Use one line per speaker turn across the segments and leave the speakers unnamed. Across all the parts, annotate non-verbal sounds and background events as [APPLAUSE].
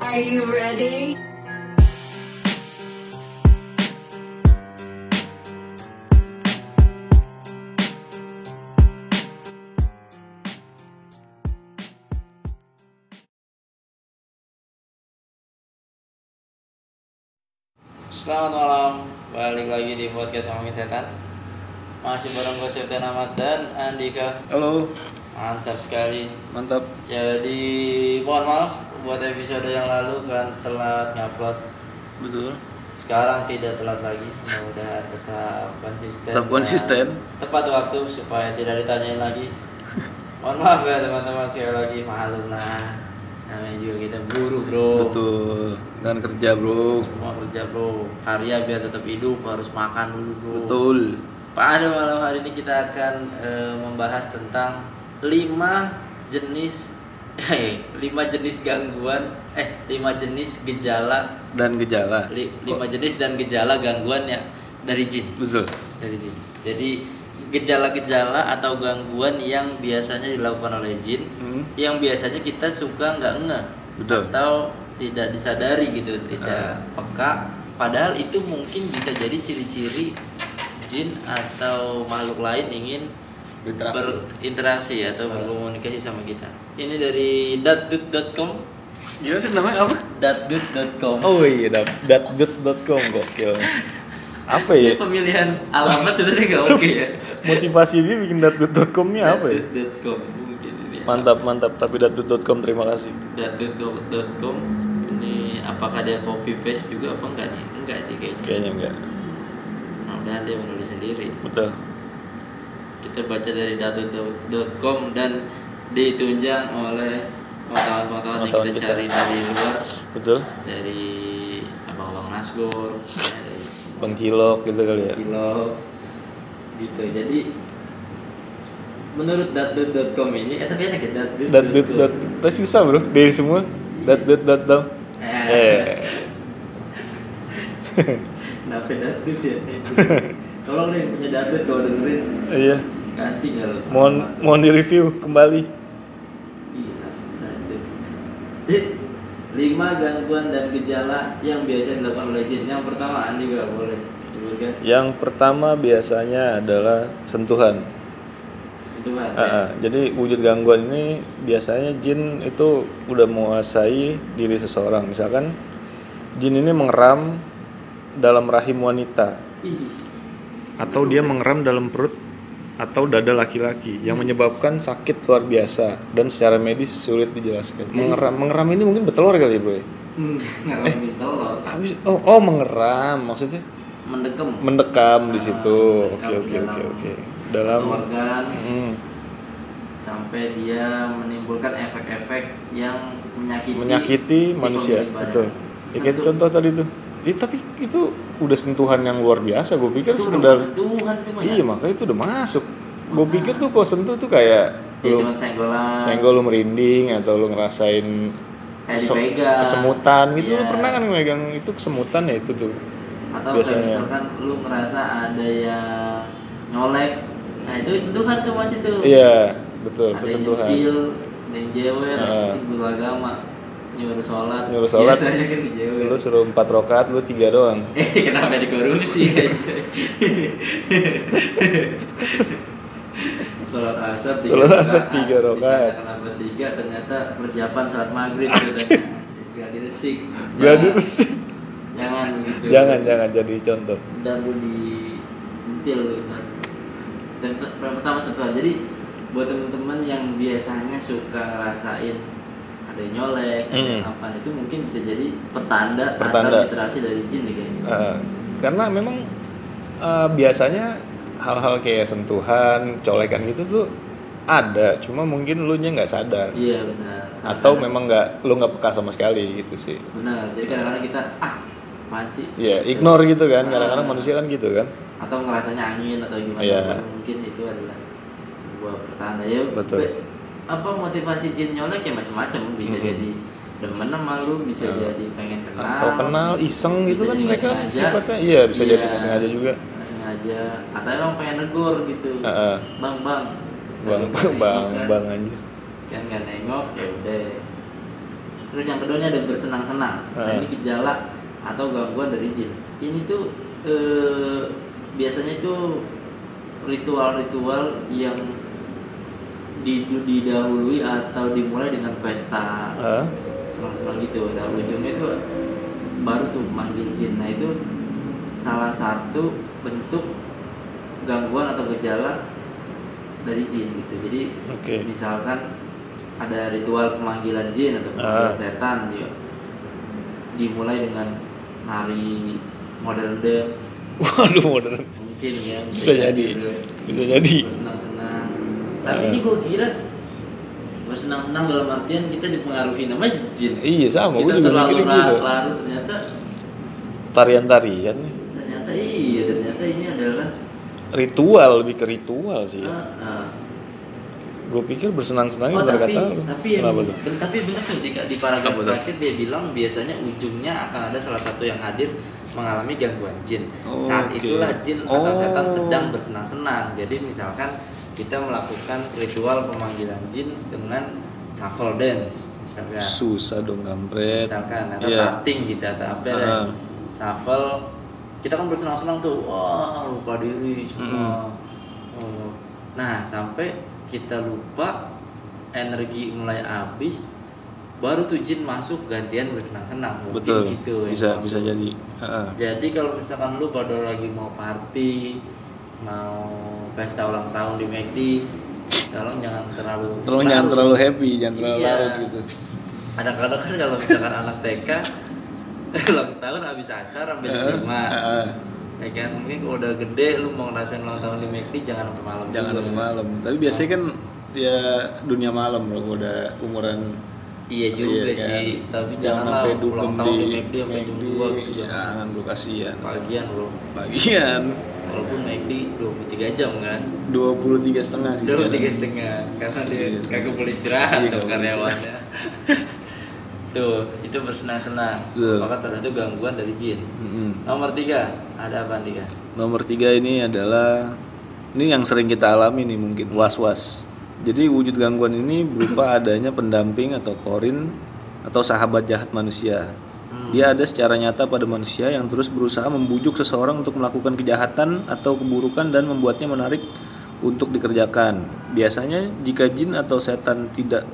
Are you ready?
Selamat malam, balik lagi di podcast Ngomongin Setan Masih bareng gue Septian Ahmad dan Andika
Halo,
Mantap sekali
mantap.
Jadi mohon maaf buat episode yang lalu kan telat ngupload
Betul.
Sekarang tidak telat lagi, mudah-mudahan tetap konsisten
Tetap
dan
konsisten.
Tepat waktu supaya tidak ditanyain lagi Mohon maaf ya teman-teman sekali lagi, maklum lah Namanya juga kita buru bro
Betul. Dan kerja, Bro.
Semua kerja bro, karya biar tetap hidup harus makan dulu bro
Betul.
Pada malam hari ini kita akan eh, membahas tentang 5 jenis eh 5 jenis gangguan eh 5 jenis gejala
Dan gejala.
5 jenis dan gejala gangguan ya dari jin,
Betul.
dari jin. Jadi gejala-gejala atau gangguan yang biasanya dilakukan oleh jin
Hmm,
yang biasanya kita suka nggak ngeh
Betul.
atau tidak disadari gitu, tidak peka padahal itu mungkin bisa jadi ciri-ciri jin atau makhluk lain ingin berinteraksi atau berkomunikasi sama kita. Ini dari datdut.com,
Gimana sih namanya apa?
datdut.com.
Oh iya, dap. datdut.com gokil. Apa ya?
Ini pemilihan alamat sebenarnya nggak oke
[LAUGHS]
ya.
Motivasi dia bikin datdut.com-nya
Datdut.com mungkin ini. ya.
ya? Mantap, mantap. Tapi datdut.com terima kasih.
Datdut.com ini apakah dia copy paste juga apa enggak nih? Enggak sih kayaknya.
Kayaknya enggak.
Mudah-mudahan dia menulis sendiri.
Betul.
Kita baca dari datdut.com dan ditunjang oleh wartawan-wartawan yang
Wartawan
kita
kita.
cari dari luar.
Betul.
dari abang-abang Nasgor, dari
Pengkilok gitu kali ya.
Cilok, gitu. Jadi menurut datdut.com ini, eh tapi enak ya datdut.com.
Datdut. Tapi susah, Bro. Dari semua. Datdut.com.
Eh,
Eh.
kenapa datdut ya? Tolong nih punya datdut kalau dengerin
Iya.
ganti nggak lo?
Mohon mohon di review kembali.
Gila, datdut. Eh, Iya, Lima gangguan dan gejala yang biasa dilakukan oleh jin. Yang pertama, Andi nggak boleh sebutkan.
Yang pertama biasanya adalah sentuhan.
Itu kan.
Ah, ah. Jadi wujud gangguan ini biasanya jin itu udah menguasai diri seseorang. Misalkan jin ini mengeram dalam rahim wanita
Ih,
atau dia mengeram dalam perut atau dada laki-laki yang menyebabkan sakit luar biasa dan secara medis sulit dijelaskan. Mengeram mengeram ini mungkin bertelur kali ya, Bro.
nggak ngalamin telur.
Habis oh, oh mengeram maksudnya
mendekem
mendekam di situ.
Ah,
Oke
mendekam
oke
dalam
oke oke.
satu
Dalam
organ
Hmm,
sampai dia menimbulkan efek-efek yang menyakiti
menyakiti
si
manusia,
pemberi badan.
betul. Ya kayak
Tentu.
contoh tadi tuh. Ih, tapi itu udah sentuhan yang luar biasa. Gue pikir
itu
kan sekedar
bukan sentuhan itu mah ya.
iya makanya itu udah masuk. Gue pikir tuh kalau sentuh tuh kayak
ya
lu
cuma senggolan
senggol lu merinding atau lu ngerasain
kayak
kesem-
dipegang
kesemutan gitu
Iya.
lu pernah kan megang itu kesemutan ya itu tuh
atau kayak
biasanya.
misalkan lu ngerasa ada yang nyolek nah itu sentuhan tuh mas itu
iya betul
ada
itu
yang
sentuhan
nyentil ada yang jewer
Ah.
uh. guru agama nyuruh sholat
Nyuruh sholat.
biasanya kan dijewer
lu suruh empat rokat lu tiga doang
[LAUGHS] Eh, kenapa
[LAUGHS]
dikorusi? Sholat asar tiga
Sholat asar
rakaat.
tiga rakaat.
Dikatakan Kenapa tiga? Ternyata persiapan sholat maghrib. katanya. Gladi resik.
jadi [LAUGHS]
Jangan, Jangan gitu.
jangan jangan jadi contoh
Dan lu disentil lu. Dan per- yang pertama sentuhan. Jadi buat temen-temen yang biasanya suka ngerasain ada yang nyolek, ada yang
Mm.
apa itu mungkin bisa jadi pertanda,
Pertanda.
atau literasi dari jin nih kayaknya.
Eh, karena memang eh, biasanya hal-hal kayak sentuhan, colekan gitu tuh ada, cuma mungkin lu nya nggak sadar
Iya benar.
atau memang nggak lu nggak peka sama sekali gitu sih.
benar. Jadi kadang-kadang kita ah apaan sih?
Ya ignore gitu kan,
Ah.
kadang-kadang manusia kan gitu kan.
Atau ngerasanya angin atau gimana?
Iya.
Mungkin itu adalah sebuah pertanda ya.
Betul.
be- apa motivasi jin nyolek ya macam-macam bisa
Mhm.
jadi demen sama lu, bisa
Ya.
jadi pengen kenal.
Atau kenal iseng
Ah.
gitu
Bisa
kan
jadi
mereka
nggak sengaja.
sifatnya, iya bisa jadi
Iya.
nggak sengaja juga.
nggak sengaja atau emang pengen negur gitu.
Heeh.
Bang, bang.
bang,
Kan
[LAUGHS] bang,
nggak
bang aja.
Kan nggak nengok ya udah. Terus yang kedua ini ada bersenang-senang. Nah,
Hmm.
ini gejala atau gangguan dari jin. Ini tuh eh, biasanya itu ritual-ritual yang di- didahului atau dimulai dengan pesta
Ah,
senang-senang gitu. Nah ujungnya tuh baru tuh manggil jin. Nah itu salah satu bentuk gangguan atau gejala dari jin gitu. Jadi
oke.
misalkan ada ritual pemanggilan jin atau pemanggilan
Ah.
setan ya. dimulai dengan nari modern dance
Waduh, modern.
mungkin ya
Bisa jadi. Bisa jadi.
senang-senang tapi
Ah.
ini gue kira bersenang-senang dalam artian kita dipengaruhi nama jin
Iya sama, gue
kita
juga
terlalu
mikirnya
la-
gitu.
larut ternyata
Tarian-tarian, nih.
ternyata iya ternyata ini adalah
ritual lebih ke ritual sih.
ah, ah.
Gue pikir bersenang-senangnya
oh
berkata
tapi tapi ya,
Kenapa tuh?
ben- tapi benar tuh di, di paragraf
Apa tuh?
terakhir dia bilang biasanya ujungnya akan ada salah satu yang hadir mengalami gangguan jin
Oh,
saat
oke.
itulah jin atau
Oh.
setan sedang bersenang-senang jadi misalkan kita melakukan ritual pemanggilan jin dengan shuffle dance misalnya
Susah dong kampret.
misalkan atau
Iya.
cutting gitu atau apa
Ah.
ya. shuffle kita kan bersenang-senang tuh wah lupa diri semua Oh. nah sampai kita lupa energi mulai habis baru tuh jin masuk gantian bersenang-senang mungkin
Betul.
gitu ya,
bisa
maksud.
bisa jadi. Heeh.
jadi kalau misalkan lu pada lagi mau party mau pesta ulang tahun di McD tolong jangan terlalu
Terlalu jangan
larut
terlalu happy, jangan terlalu
Iya.
larut gitu.
kadang-kadang kan kalau misalkan anak TK [LAUGHS] ulang tahun habis asar sampai jam
Heeh,
lima
heeh.
ya kan mungkin kalau udah gede lu mau ngerasain ulang tahun di McD jangan sampai malam
Jangan
juga.
sampai malam. Tapi biasanya kan ya dunia malam loh gua udah umuran
iya juga
Iya kan?
sih tapi
jangan
janganlah
sampai
ulang
dugem
tahun
di
di McD sampai jam
McD,
dua gitu jangan
jangan lu kasihan.
pagian lu
Bagian [LAUGHS]
walaupun McD 23 jam kan
23 setengah sih.
dua tiga
sekarang.
setengah karena dia
Iya,
kagak boleh istirahat
Iya,
tuh
kagak boleh
karyawannya [LAUGHS] tuh itu bersenang-senang
Betul.
maka salah satu gangguan dari jin
Mm-mm.
nomor tiga ada apa tiga
Nomor tiga ini adalah ini yang sering kita alami nih mungkin was-was. Jadi wujud gangguan ini berupa adanya pendamping atau korin atau sahabat jahat manusia.
Hmm.
Dia ada secara nyata pada manusia yang terus berusaha membujuk seseorang untuk melakukan kejahatan atau keburukan dan membuatnya menarik untuk dikerjakan. Biasanya jika jin atau setan tidak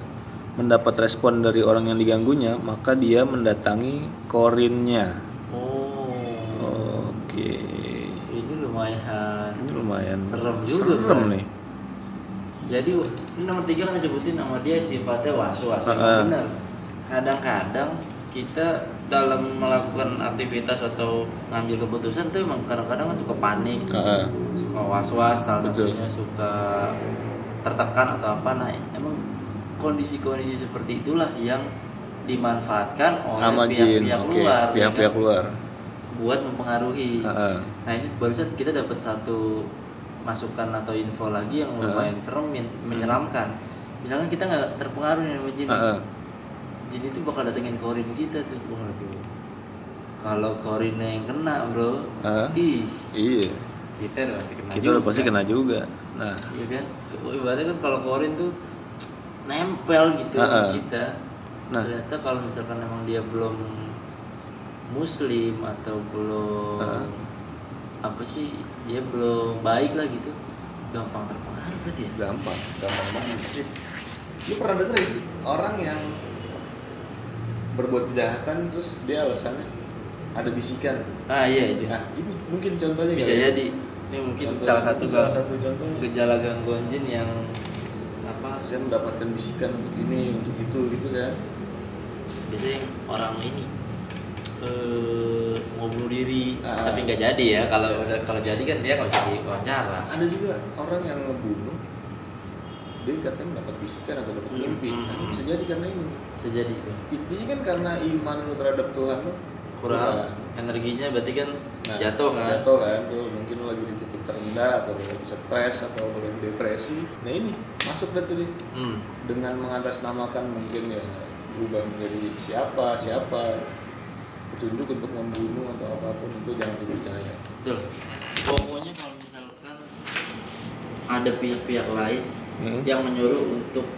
mendapat respon dari orang yang diganggunya, maka dia mendatangi korinnya.
Oh,
Oke.
ini lumayan.
Ini lumayan
Serem juga,
serem
Bro.
nih.
Jadi ini nomor tiga kan disebutin sama dia sifatnya was-was.
Ah, ah.
Benar. Kadang-kadang kita dalam melakukan aktivitas atau ngambil keputusan tuh emang kadang-kadang kan suka panik,
Heeh.
suka was-was, salah
Betul.
satunya suka tertekan atau apa. Nah, emang kondisi-kondisi seperti itulah yang dimanfaatkan
Sama
oleh
jin,
pihak-pihak
oke.
luar ya
Pihak-pihak
kan?
luar.
buat mempengaruhi.
Heeh.
Nah ini barusan kita dapat satu masukan atau info lagi yang lumayan serem, men- menyeramkan. Misalkan kita nggak terpengaruh nih sama jin,
Heeh.
jin itu bakal datengin korin kita tuh. Waduh. Kalau korinnya yang kena bro,
Heeh.
ih
Iya.
kita udah pasti kena.
Kita udah pasti kena juga. Nah,
Iya kan? Ibaratnya kan kalau korin tuh nempel gitu sama
Heeh.
kita.
Nah.
Ternyata kalau misalkan emang dia belum muslim atau belum
Heeh.
apa sih dia belum baik lah gitu gampang terpengaruh berarti ya
gampang, gampang banget. Lu pernah denger gak sih orang yang berbuat kejahatan terus dia alasannya ada bisikan.
ah iya itu
Nah, ini mungkin contohnya
bisa
kali.
jadi ini mungkin
Contoh-
salah satu
Iya, salah
gam-
satu contohnya.
gejala gangguan jin yang apa
Saya mendapatkan bisikan untuk ini, untuk itu gitu kan.
biasanya yang orang ini eh mau bunuh diri
Ah.
tapi nggak jadi ya kalau udah kalau jadi kan dia nggak bisa diwawancara
ada juga orang yang ngebunuh dia katanya dapat bisikan atau dapat
Hmm.
mimpi Nah, ini bisa jadi karena ini
bisa jadi itu
intinya kan karena iman lu terhadap Tuhan lu
kurang energinya berarti kan
Nah,
jatuh kan
jatuh kan tuh mungkin lu lagi di titik terendah atau lu lagi stres atau lu lagi depresi nah ini masuk deh tuh dia.
Hmm.
dengan mengatasnamakan mungkin ya berubah menjadi siapa siapa petunjuk untuk membunuh atau apapun itu jangan dipercaya
betul pokoknya kalau misalkan ada pihak-pihak lain yang menyuruh untuk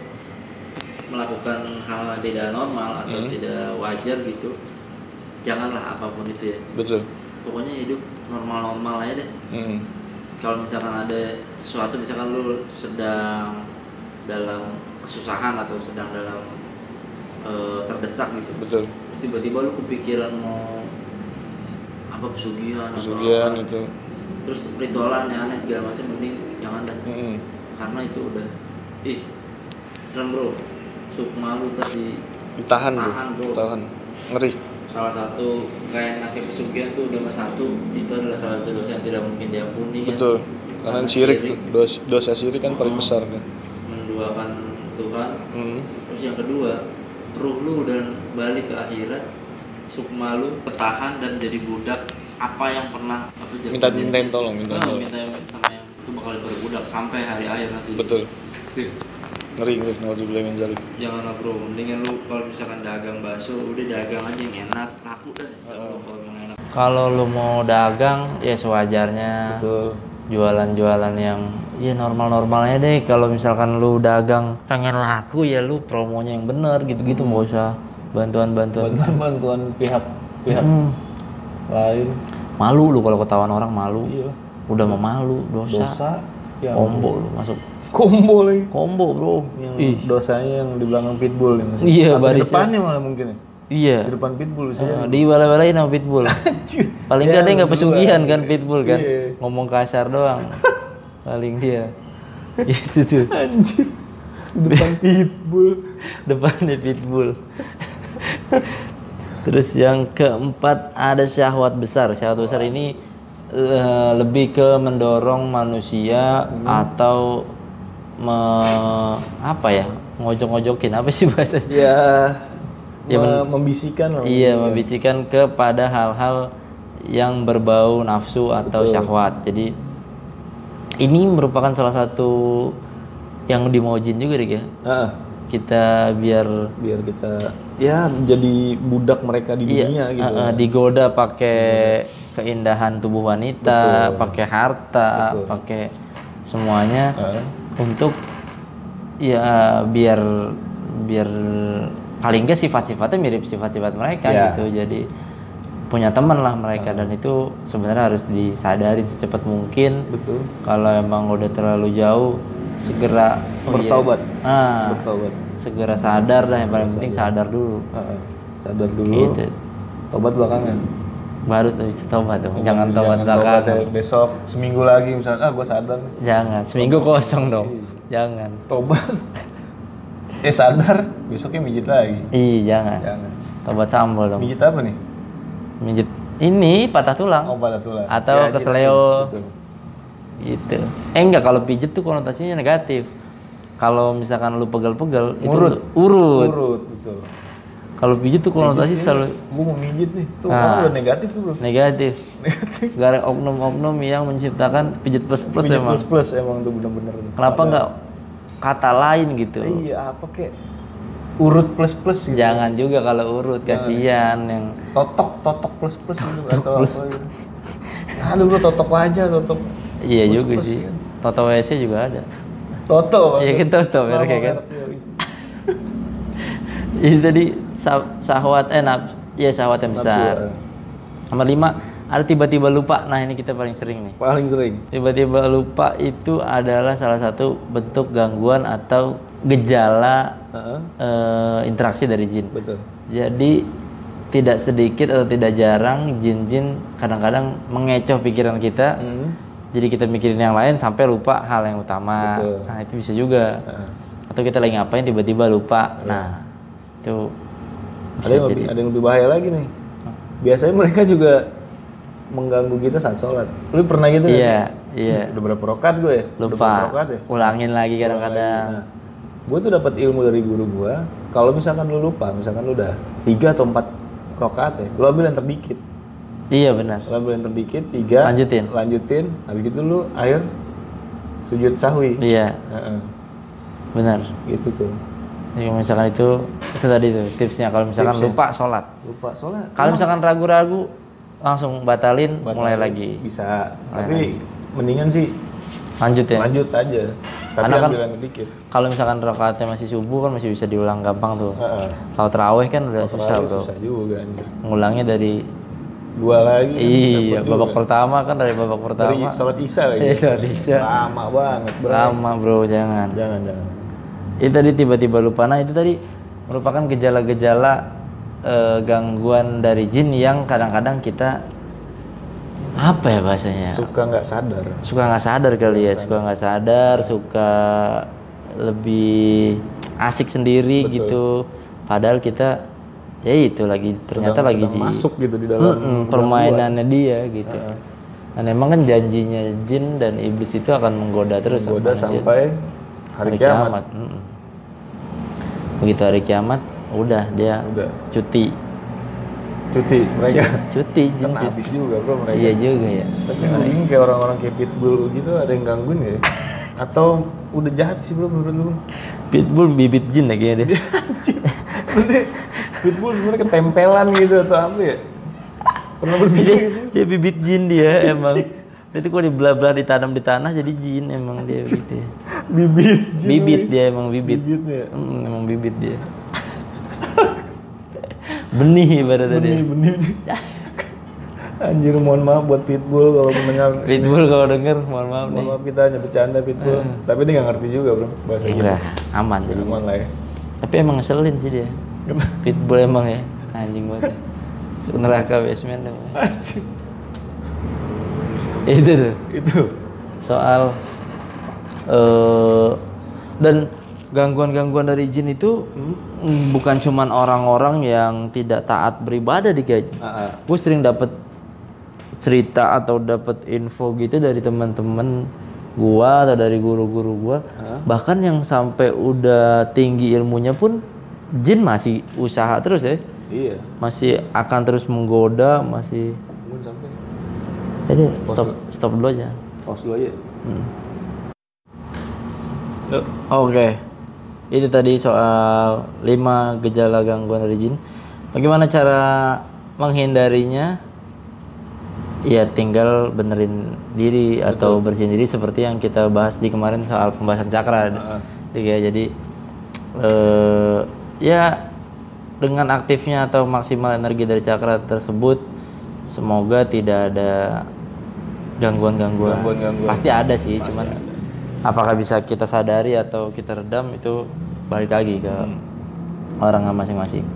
melakukan hal yang tidak normal atau
Hmm.
tidak wajar gitu, janganlah apapun itu ya.
betul
Pokoknya hidup normal-normal aja deh.
Hmm.
Kalau misalkan ada sesuatu, misalkan lu sedang dalam kesusahan atau sedang dalam eh, terdesak gitu,
betul
Terus tiba-tiba lu kepikiran mau apa pesugihan, atau
pesugihan
apa.
itu
terus ritualan yang aneh segala macam mending jangan dah
Mm-mm.
karena itu udah ih serem bro sukma lu tadi
ditahan bro
Tahan, Iya. bro.
tahan ngeri
salah satu nggak enaknya pesugihan tuh udah mas satu itu adalah salah satu dosa yang tidak mungkin diampuni kan?
betul karena syirik dos- dosa syirik kan paling
Oh.
besar kan
menduakan Tuhan
Hmm.
terus yang kedua ruh lu dan balik ke akhirat sukma lu ketahan dan jadi budak apa yang pernah apa jadi-
minta mintain tolong minta
Ah,
tolong
minta sama yang itu bakal diperbudak sampai hari akhir nanti
betul
Ih,
ngeri ngeri naudzubillah min dzalik.
jangan lah bro mendingan lu kalau misalkan dagang bakso udah dagang aja yang enak laku dah
Heeh.
kalau lu mau dagang ya sewajarnya
betul
jualan-jualan yang ya normal-normalnya deh kalau misalkan lu dagang pengen laku ya lu promonya yang bener gitu-gitu nggak usah bantuan-bantuan
Hmm. bantuan pihak pihak
Hmm,
lain
malu lu kalau ketahuan orang malu
iya
udah mau malu dosa, kombo lu masuk
kombo lagi
kombo bro
yang
ih
dosanya yang di belakang pitbull nih
Iya,
maksudnya Iya. Atau di
barisnya.
depannya malah mungkin ya
iya
di depan pitbull bisa
Nah, Dibalai-balain sama
[LAUGHS]
Pitbull. Paling nggak dia nggak pesugihan kan Pitbull kan.
Iya.
Ngomong kasar
[LAUGHS]
doang. Paling dia. Gitu tuh.
anjir di depan pitbull
[LAUGHS] Depannya Pitbull. [LAUGHS] Terus yang keempat ada syahwat besar. Syahwat besar ini eh, lebih ke mendorong manusia
Hmm.
atau me- apa ya? Ngojok-ngojokin apa sih bahasanya? Ya,
ya, me- membisikkan lah
Iya, membisikkan kepada hal-hal yang berbau nafsu atau syahwat. Jadi ini merupakan salah satu yang di Mojin juga, Dik ya.
Ah,
Kita biar
biar kita ya jadi budak mereka di dunia gitu
eh, eh, digoda pakai keindahan tubuh wanita, pakai harta, pakai semuanya
Ah,
untuk ya biar biar paling nggak sifat-sifatnya mirip sifat-sifat mereka
Ya.
gitu jadi punya teman lah mereka dan itu sebenarnya harus disadarin secepat mungkin
betul
kalau emang udah terlalu jauh segera oh iya.
bertaubat
Ah,
bertaubat
segera sadar lah yang paling penting sadar dulu
Ah, ah. sadar dulu
Gitu.
taubat belakangan
baru tuh itu taubat dong jangan taubat
Jangan
belakang
ya, besok seminggu lagi misalnya ah gue sadar nih.
jangan seminggu kosong dong
Iya.
jangan
taubat [LAUGHS] eh sadar besoknya mijit lagi
ih jangan
jangan
taubat sambal dong
mijit apa nih
Mijit ini patah tulang
oh patah tulang
atau
Ya,
kesleo
gitu.
gitu. Eh enggak kalau pijet tuh konotasinya negatif. Kalau misalkan lu pegel-pegel itu
Urut.
urut.
urut betul
Kalau pijet tuh konotasi selalu
gue mau mijit nih tuh
Nah.
orang udah negatif tuh bro
negatif.
negatif
Gara oknum-oknum yang menciptakan pijet plus-plus
mijit
emang.
plus plus emang tuh bener-bener
Kenapa enggak kata lain gitu?
iya apa kek urut plus plus gitu
Jangan juga kalau urut kasihan yang
totok totok plus plus gitu atau apa gitu ah lu bro totok aja totok
iya juga sih. Toto WC juga ada.
toto
Iya kan Toto merek ya kan. Itu tadi sah- syahwat eh naf- ya syahwat yang besar. Nomor lima, ada tiba-tiba lupa. Nah ini kita paling sering nih.
paling sering
Tiba-tiba lupa itu adalah salah satu bentuk gangguan atau gejala
Heeh,
eh, interaksi dari jin.
betul
Jadi tidak sedikit atau tidak jarang jin-jin kadang-kadang mengecoh pikiran kita.
Hmm.
Jadi kita mikirin yang lain sampai lupa hal yang utama.
Betul.
Nah itu bisa juga.
Heeh.
Atau kita lagi ngapain tiba-tiba lupa. Nah itu
ada yang lebih, ada yang lebih bahaya lagi nih biasanya mereka juga mengganggu kita saat sholat lu pernah gitu nggak
Iya,
sih
iya.
udah berapa rokat gue ya udah berapa
Lupa.
rokat ya
Ulangin lagi kadang-kadang.
nah gue tuh dapat ilmu dari guru gue kalau misalkan lu lupa misalkan lu udah tiga atau empat rokat ya lu ambil yang terdikit
Iya benar.
lu ambil yang terdikit tiga
Lanjutin.
lanjutin habis itu lu akhir sujud sahwi
Iya,
Heeh,
benar.
gitu tuh
Jadi kalau misalkan itu itu tadi tuh tipsnya kalau misalkan lupa sholat.
lupa sholat
Kalau misalkan ragu-ragu langsung batalin, mulai lagi.
bisa tapi mendingan sih
Lanjut ya.
lanjut aja Tapi
Karena kan-
ambilan sedikit.
Kalau misalkan rakaatnya masih subuh kan masih bisa diulang gampang tuh.
Heeh.
Kalau terawih kan udah susah
Terlalu
bro.
susah juga anjir.
Ngulangnya dari
Dua lagi. kan,
iya
repot
babak
juga.
pertama kan dari babak
Dari
pertama.
sholat isya lagi.
Iya, sholat isya.
Lama banget, bro.
Lama Ya. bro jangan.
Jangan, jangan.
Itu tadi tiba-tiba lupa. Nah itu tadi merupakan gejala-gejala eh, gangguan dari jin yang kadang-kadang kita apa ya bahasanya?
Suka nggak sadar.
suka nggak sadar kali ya suka nggak sadar suka lebih asik sendiri gitu padahal kita ya itu lagi ternyata
Sedang-
lagi
sedang
di
masuk gitu di dalam
Mm-mm, permainannya dia gitu dan emang kan janjinya jin dan iblis itu akan menggoda terus sama
Goda
manusia.
sampai hari kiamat.
Mm-mm. begitu hari kiamat udah dia
Udah. [LAUGHS]
cuti
Cuti mereka.
cuti jin
Kena
cuti.
habis juga, bro, mereka.
iya juga ya
Tapi gue bingung kayak orang-orang kayak pitbull gitu ada yang gangguin ya? Atau udah jahat sih bro menurut lu?
pitbull bibit jin ya kayaknya
[LAUGHS]
dia
Anjir. Berarti pitbull sebenarnya ketempelan gitu atau apa ya? Pernah
Iya.
berpikir nggak sih?
dia bibit jin dia emang itu kalau dibelah-belah ditanam di tanah jadi jin emang
[LAUGHS]
dia gitu ya.
Bibit. Jin.
bibit dia emang bibit
Bibitnya.
Mm, emang bibit dia [LAUGHS] benih ibaratnya dia
Benih, benih. Anjir mohon maaf buat pitbull kalau mendengar.
pitbull kalau denger mohon maaf
Mohon
nih
maaf kita hanya bercanda pitbull.
Eh.
Tapi dia nggak ngerti juga bro bahasa gitu.
enggak aman
Cuman lah ya.
tapi emang ngeselin sih dia pitbull emang ya anjing banget ya. neraka basement emang.
Anjir.
itu tuh
Itu.
soal eh dan gangguan-gangguan dari jin itu mm, bukan cuman orang-orang yang tidak taat beribadah di gaji.
Ah,
Gue sering dapat cerita atau dapat info gitu dari teman-teman gua atau dari guru-guru gua. Bahkan yang sampai udah tinggi ilmunya pun jin masih usaha terus ya.
Iya.
Masih akan terus menggoda, masih
Mungkin sampai.
Jadi stop stop dulu aja.
Pause dulu aja.
Hmm. Oke. Itu tadi soal 5 gejala gangguan dari jin. Bagaimana cara menghindarinya? Ya tinggal benerin diri atau bersihin diri seperti yang kita bahas di kemarin soal pembahasan cakra. Jadi ya, jadi eh, ya dengan aktifnya atau maksimal energi dari cakra tersebut semoga tidak ada gangguan-gangguan. Pasti ada sih, cuman apakah bisa kita sadari atau kita redam itu balik lagi ke orangnya masing-masing.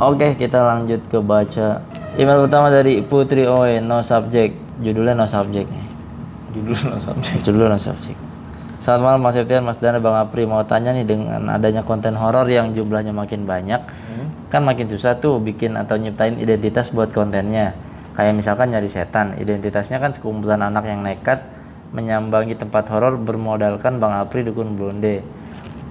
Oke, kita lanjut ke baca email pertama dari Putri Oe, no subject. Judulnya no subject nih.
Judul lah sampai.
Judulnya no subject. Selamat malam Mas Septian, Mas Dana, Bang Apri. Mau tanya nih dengan adanya konten horor yang jumlahnya makin banyak, kan makin susah tuh bikin atau nyiptain identitas buat kontennya. Kayak misalkan nyari setan, identitasnya kan sekumpulan anak yang nekat menyambangi tempat horor bermodalkan Bang Apri dukun blonde.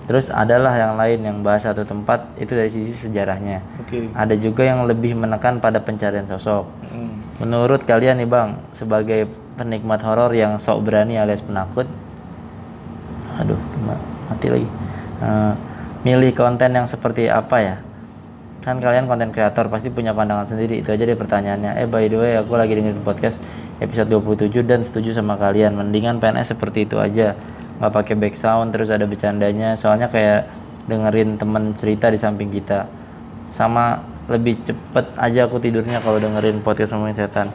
Terus adalah yang lain yang bahas satu tempat itu dari sisi sejarahnya. Ada juga yang lebih menekan pada pencarian sosok.
Hmm.
Menurut kalian nih Bang, sebagai penikmat horor yang sok berani alias penakut, aduh cuma mati lagi. Eh, milih konten yang seperti apa ya? Kan kalian konten kreator pasti punya pandangan sendiri. Itu aja deh pertanyaannya. Eh by the way, aku lagi dengerin podcast episode 27 dan setuju sama kalian. Mendingan PNS seperti itu aja. nggak pakai back sound terus ada bercandanya. Soalnya kayak dengerin temen cerita di samping kita sama lebih cepet aja aku tidurnya kalau dengerin podcast ngomongin setan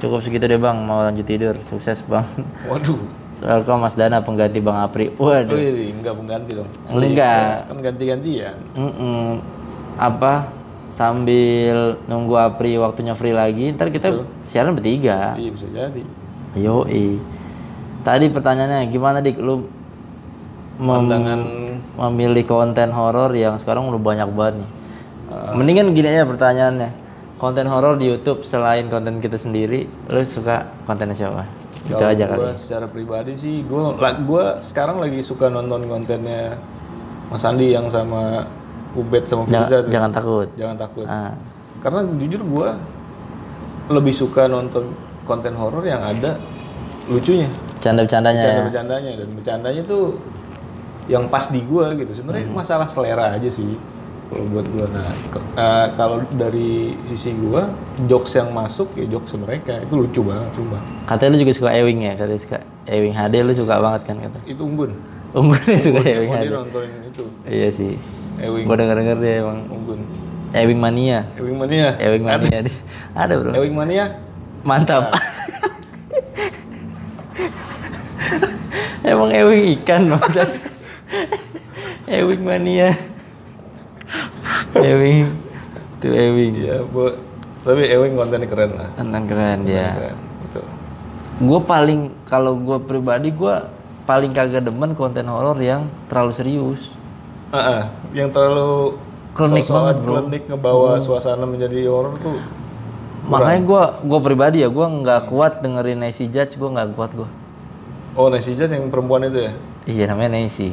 cukup segitu deh bang mau lanjut tidur sukses bang [LAUGHS]
Waduh.
welcome mas dana pengganti bang apri
Oh,
waduh
iya, enggak pengganti dong.
enggak
Kan ganti-gantian.
Mm-mm. apa sambil nunggu apri waktunya free lagi ntar kita siaran bertiga
Iya bisa jadi.
yoi tadi pertanyaannya gimana dik lu mem-
Pandangan
memilih konten horor yang sekarang udah banyak banget nih.
Eh.
Mendingan gini aja pertanyaannya. Konten horor di YouTube selain konten kita sendiri, lu suka konten siapa? Itu
kalau
aja kali.
gua secara pribadi sih gue gue sekarang lagi suka nonton kontennya Mas Andi yang sama Ubed sama
Jangan,
Firza tuh.
jangan takut.
Jangan takut.
Ah,
Karena jujur gue lebih suka nonton konten horor yang ada lucunya,
Canda-candanya ya.
bercanda-bercandanya dan bercandanya tuh yang pas di gue gitu. Sebenarnya
Hmm.
masalah selera aja sih kalau buat gue. Nah ke- eh, kalau dari sisi gue jokes yang masuk ya jokes mereka itu lucu banget sumpah.
Katanya lu juga suka Ewing ya, katanya suka Ewing HD lu suka banget kan kata.
Itu embun.
Unggun ya suka Ewing
Oh, dia
ada.
nontonin itu.
Iya sih.
Ewing.
Gua denger denger dia emang
Unggun.
Ewing mania.
Ewing Mania.
Ewing
Ada.
mania dia. Ada bro.
Ewing ya? Mania.
Mantap. [LAUGHS] Emang Ewing ikan maksud. Ewing mania. Ewing. Tuh Ewing.
Iya, bu. Tapi Ewing kontennya keren lah.
Tentang keren dia.
Keren. Betul.
Gue paling kalau gue pribadi gue paling kagak demen konten horor yang terlalu serius.
Ah, ah. yang terlalu
Klinik
sok-sokan
banget, bro. Hmm.
Klinik ngebawa suasana menjadi horor tuh.
Makanya gue gue pribadi ya gue nggak kuat dengerin Nancy Judge gue nggak kuat gue.
Oh, Nancy Jazz yang perempuan itu ya?
Iya namanya Nancy.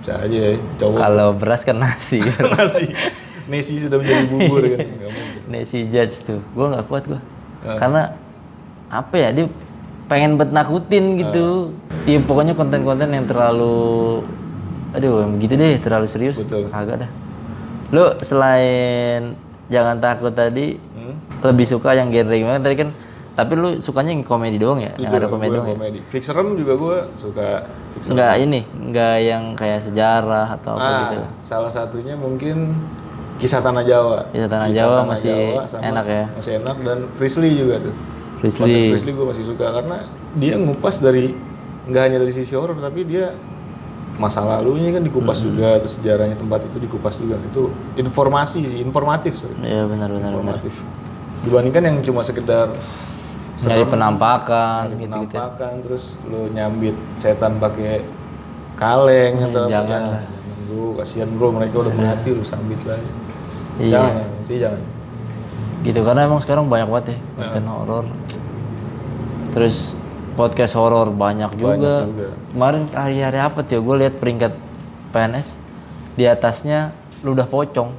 Bisa aja ya, cowok.
Kalau beras kan nasi.
[LAUGHS]
[LAUGHS]
Nasi. Nancy sudah menjadi bubur kan. Nggak mungkin.
Nancy Judge tuh, gue nggak kuat gue, karena apa ya dia pengen bet nakutin gitu. Iya pokoknya konten-konten yang terlalu, aduh gitu deh terlalu serius.
Betul.
Agak dah. Lu selain jangan takut tadi,
Hmm?
lebih suka yang genre gimana tadi kan? Tapi lu sukanya yang komedi doang ya, yang ada komedi
Gua
doang ya?
komedi. Fixerem juga gue suka fixerem.
Enggak ini, enggak yang kayak sejarah atau apa
Ah,
gitu.
salah satunya mungkin kisah tanah Jawa.
Kisah Tanah Jawa masih enak ya?
Masih enak dan Frizzly juga tuh. Konten
Frizzly.
Frizzly gue masih suka karena dia ngupas dari nggak hanya dari sisi horor tapi dia masa lalunya kan dikupas
Hmm.
juga terus sejarahnya tempat itu dikupas juga itu informasi sih informatif sih
Iya benar-benar benar.
informatif dibandingkan yang cuma sekedar
Nyari penampakan,
Ada
gitu-gitu.
penampakan terus lu nyambit setan pakai kaleng atau apa,
Hmm, jangan
ya,
lah.
jangan bro kasihan bro mereka udah mati lu sambit lagi
Iya.
jangan nanti jangan
gitu karena emang sekarang banyak banget
Ah.
ya konten horor terus podcast horor banyak juga.
juga.
kemarin hari-hari apa tuh ya gue lihat peringkat PNS di atasnya lu udah pocong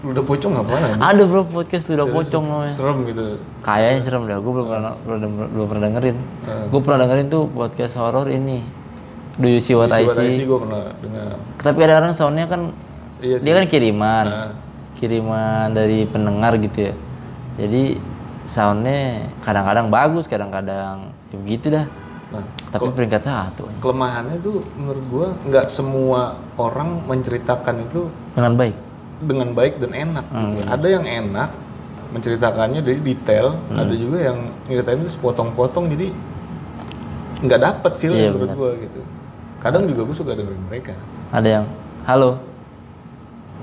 lu udah pocong ngapain anjing?
ada bro podcast lu Ah, udah pocong namanya
serem gitu
kayaknya serem dah gue belum pernah belum, belum pernah dengerin
Eh,
gue pernah dengerin tuh podcast horor ini Do You See What I
Iya, Sobat
See
IC gue pernah dengar
tapi ada orang soundnya kan
iya sih Nah,
dia kan kiriman kiriman dari pendengar gitu ya jadi soundnya kadang-kadang bagus kadang-kadang ya begitu dah
nah
tapi peringkat satu
kelemahannya tuh menurut gua nggak semua orang menceritakan itu
dengan baik
dengan baik dan enak
Hmm,
gitu. ada yang enak menceritakannya dari detail
Hmm.
ada juga yang nyeritain itu sepotong-potong jadi nggak dapat feel
Iya,
menurut gua gitu kadang juga gua suka dengerin mereka
ada yang halo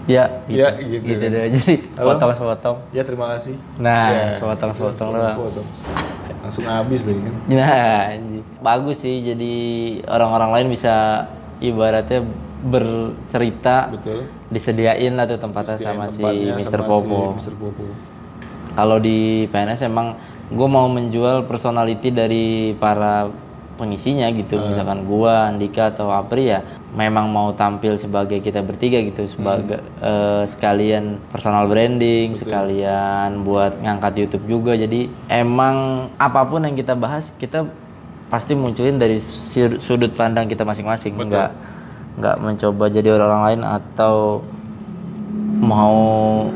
ya gitu,
ya gitu
gitu deh [LAUGHS] jadi potong-potong
ya terima kasih
nah sepotong-sepotong doang
Potong. langsung habis lagi kan
[LAUGHS] Nah, anjing. bagus sih jadi orang-orang lain bisa ibaratnya bercerita
betul Iya,
disediain lah tuh tempatnya sama si Mr. Popo.
Mister Popo
Kalau di PNS emang gue mau menjual personality dari para pengisinya gitu, misalkan gua, Andika atau Apri ya, memang mau tampil sebagai kita bertiga gitu, sebagai eh, sekalian personal branding, sekalian buat ngangkat YouTube juga. Jadi emang apapun yang kita bahas kita pasti munculin dari sir- sudut pandang kita masing-masing, nggak nggak mencoba jadi orang lain atau mau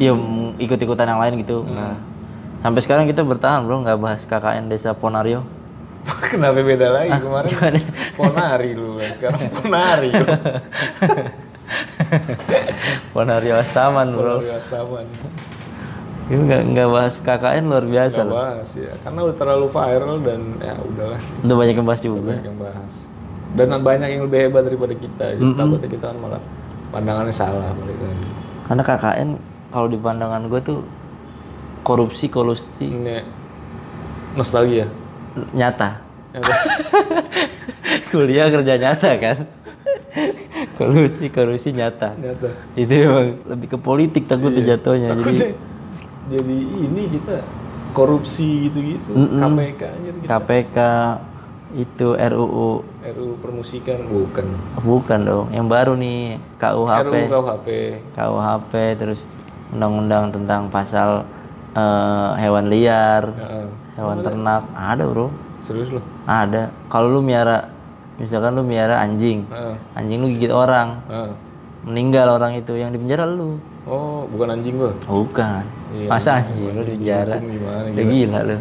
ya m- ikut-ikutan yang lain gitu. Nah, sampai sekarang kita bertahan bro, nggak bahas KKN Desa Ponario. [LAUGHS]
[LAUGHS] kenapa beda lagi kemarin ponari lu ya, sekarang ponari lu.
Ponario Astaman bro.
Ponari Astaman
Ini nggak nggak bahas KKN luar biasa
Gak
loh.
bahas ya, karena udah terlalu viral dan ya udahlah
Udah banyak yang bahas juga.
banyak yang bahas. Dan banyak yang lebih hebat daripada kita. Gitu. Takutnya kita kan malah pandangannya salah balik lagi.
Karena KKN kalau di pandangan gue tuh korupsi kolusi
Ini nostalgia.
nyata. [LAUGHS] Kuliah kerja nyata kan. [LAUGHS] kolusi kolusi nyata.
Ternyata
Itu emang lebih ke politik takut jatuhnya. Jadi
jadi ini kita korupsi gitu-gitu, KPK anjir gitu.
KPK itu RUU
RUU permusikan bukan.
bukan dong yang baru nih KUHP
RUU KUHP.
KUHP terus undang-undang tentang pasal eh, hewan liar
Heeh.
hewan ternak ada bro
Serius loh.
ada kalau lu miara misalkan lu miara anjing
Heeh.
anjing lu gigit orang
Heeh.
meninggal orang itu yang di penjara lu
Oh, bukan anjing gua.
bukan masa anjing lu di penjara
Hukum gimana
udah
gitu.
gila lu